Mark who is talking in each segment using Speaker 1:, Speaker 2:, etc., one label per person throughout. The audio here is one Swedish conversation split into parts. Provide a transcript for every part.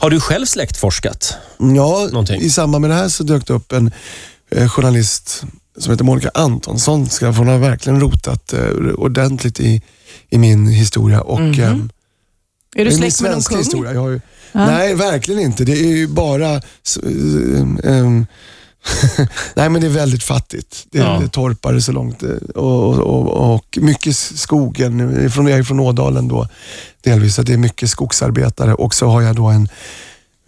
Speaker 1: Har du själv släktforskat?
Speaker 2: Ja,
Speaker 1: Någonting.
Speaker 2: i samband med det här så dök det upp en eh, journalist som heter Monica Antonsson. Ska jag få, Hon har verkligen rotat eh, ordentligt i, i min historia. Och, ehm,
Speaker 3: Är du
Speaker 2: i min
Speaker 3: släkt med någon
Speaker 2: svenska
Speaker 3: kung?
Speaker 2: historia. Jag har ju, Nej, verkligen inte. Det är ju bara... s- ehm, ehm, nej, men det är väldigt fattigt. Det,
Speaker 1: Ja.
Speaker 2: det torpar så långt. eh, Och, och, och mycket skogen. Jag är från- jag är från Ådalen då, delvis. Så det är mycket skogsarbetare. Och så har jag då en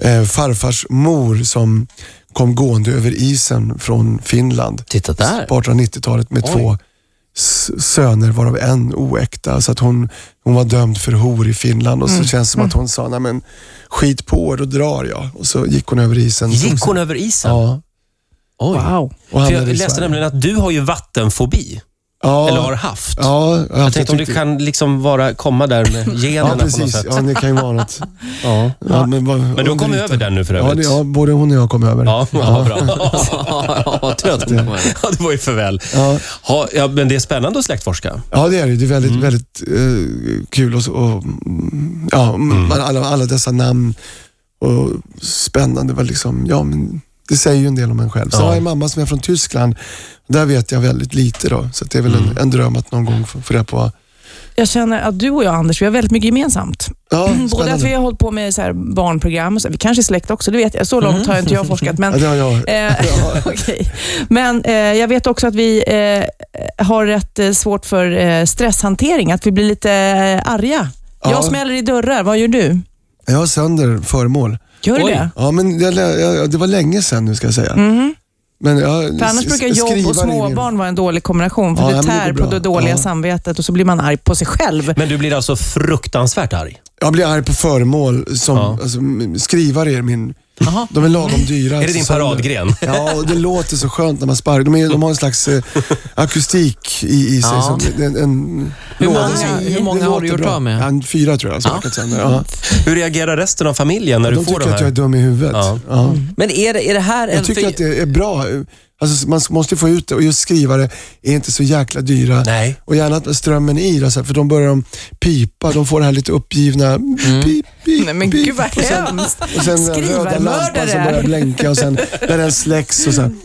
Speaker 2: eh, farfars mor som kom gående över isen från Finland
Speaker 1: Titta där.
Speaker 2: på 1890-talet med två s- söner varav en oäkta. Så att hon, hon var dömd för hor i Finland och så
Speaker 1: Mm.
Speaker 2: känns det som att hon sa, nej men skit på er, då drar jag. Och så gick hon över isen.
Speaker 1: Gick hon över isen?
Speaker 2: Ja.
Speaker 1: Oj.
Speaker 3: Wow.
Speaker 2: Och
Speaker 1: För jag
Speaker 2: hamnade i
Speaker 1: läste
Speaker 2: Sverige.
Speaker 1: nämligen att du har ju vattenfobi,
Speaker 2: ja,
Speaker 1: eller har haft.
Speaker 2: Ja, jag,
Speaker 1: Jag tänkte om det kan liksom vara, komma där med generna
Speaker 2: Ja,
Speaker 1: på något sätt.
Speaker 2: precis. Ja, det kan ju vara något. Ja. Ja, men, vad-
Speaker 1: Men du har kommit
Speaker 2: underligt.
Speaker 1: över den nu för
Speaker 2: Ja, det,
Speaker 1: övrigt.
Speaker 2: ja, både hon och jag kom över.
Speaker 1: Ja, ja, bra.
Speaker 4: ja, trött på mig.
Speaker 1: Ja, det var ju för väl.
Speaker 2: Ja.
Speaker 1: Ha, ja, men det är spännande att släktforska.
Speaker 2: Ja, det är det. Det är väldigt, väldigt eh, kul och, så- och mm, ja, man- alla, alla dessa namn och spännande. Var liksom, ja, men det säger ju en del om en själv. Sen
Speaker 1: Ja.
Speaker 2: har jag en mamma som är från Tyskland. Där vet jag väldigt lite då, så att det är väl en, en dröm att någon gång få få reda på.
Speaker 3: Jag känner att du och jag, Anders, vi har väldigt mycket gemensamt.
Speaker 2: Ja,
Speaker 3: Både att vi
Speaker 2: spännande.
Speaker 3: har hållit på med så här barnprogram och så. Vi kanske är släkt också, det vet jag. Så långt har inte jag forskat. Men,
Speaker 2: Mm. Ja, det har jag.
Speaker 3: eh, okej. men eh, jag vet också att vi eh, har rätt eh, svårt för eh, stresshantering, att vi blir lite eh, arga.
Speaker 2: Ja.
Speaker 3: Jag smäller i dörrar, vad gör du?
Speaker 2: Jag har sönder föremål.
Speaker 3: Gör du
Speaker 1: Oj.
Speaker 3: det?
Speaker 2: Ja, men jag, lä- jag, det var länge sedan nu ska jag säga. Men jag,
Speaker 3: Mm-hmm. För annars brukar jobb och småbarn vara en dålig kombination, för
Speaker 2: Ja,
Speaker 3: det
Speaker 2: men det går
Speaker 3: tär
Speaker 2: bra.
Speaker 3: på det dåliga
Speaker 2: Ja.
Speaker 3: samvetet och så blir man arg på sig själv.
Speaker 1: Men du blir alltså fruktansvärt arg.
Speaker 2: Jag blir arg på föremål som
Speaker 1: Ja.
Speaker 2: alltså, m- skrivare är min... De är lagom dyra. Alltså,
Speaker 1: Är det din
Speaker 2: Så-
Speaker 1: paradgren?
Speaker 2: Ja, och det låter så skönt när man sparkar. De, är, de har en slags eh, akustik i, i sig.
Speaker 4: Ja.
Speaker 2: Som, en, en,
Speaker 4: Hur många-
Speaker 2: låda som-
Speaker 4: hur
Speaker 2: det
Speaker 4: många har
Speaker 2: låter
Speaker 4: du gjort
Speaker 2: bra.
Speaker 4: av med?
Speaker 2: Ja, fyra tror jag. Som ja. sönder. Ja.
Speaker 1: Hur reagerar resten av familjen när
Speaker 2: De
Speaker 1: du får
Speaker 2: tycker
Speaker 1: de
Speaker 2: att jag är
Speaker 1: här?
Speaker 2: dum i huvudet.
Speaker 1: Ja.
Speaker 2: Ja.
Speaker 4: Men är det, är det här en...
Speaker 2: Jag tycker
Speaker 4: för-
Speaker 2: att det är bra. Alltså, man måste få ut det och just skrivare är inte så jäkla dyra.
Speaker 1: Nej.
Speaker 2: Och gärna att strömmen i, då, så här, för de börjar de pipa. De får det här lite uppgivna...
Speaker 4: Mm.
Speaker 2: Pip, pip,
Speaker 3: Nej men
Speaker 2: pip.
Speaker 3: gud vad
Speaker 2: Och sen-
Speaker 3: hemskt.
Speaker 2: Och sen den röda lampan som börjar
Speaker 3: Skrivarmördare.
Speaker 2: blänka och sen när den släcks och sen...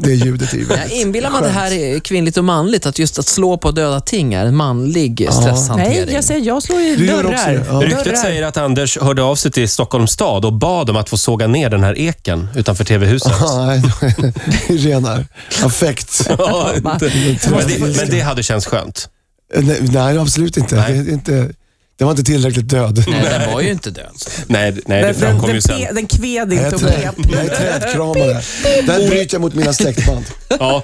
Speaker 2: Det ljudet är ju
Speaker 4: Jag
Speaker 2: väldigt
Speaker 4: inbillar mig att det
Speaker 2: skönt.
Speaker 4: här är kvinnligt och manligt, att just att slå på döda ting är en manlig stresshantering.
Speaker 3: Nej, jag säger jag slår i
Speaker 2: Du gör
Speaker 3: dörrar.
Speaker 2: också det, ja.
Speaker 3: dörrar.
Speaker 1: Ryktet säger att Anders hörde av sig till Stockholms stad och bad om att få såga ner den här eken utanför TV-huset.
Speaker 2: Ja, nej, det är renar. Affekt.
Speaker 1: Ja, inte- men, det, men det hade känts skönt.
Speaker 2: Nej, nej, absolut inte.
Speaker 1: Nej.
Speaker 2: Det, är inte. det var inte tillräckligt död.
Speaker 4: Nej, den var ju inte död.
Speaker 1: Nej, d- nej det
Speaker 3: Därför den,
Speaker 1: framkom
Speaker 3: den,
Speaker 1: ju
Speaker 3: pe-
Speaker 1: sen.
Speaker 3: den
Speaker 2: Jag
Speaker 3: kved inte
Speaker 2: är,
Speaker 3: och
Speaker 2: trä,
Speaker 3: pep.
Speaker 2: jag är trädkramare. Där bryter jag mot mina släktband.
Speaker 1: Ja,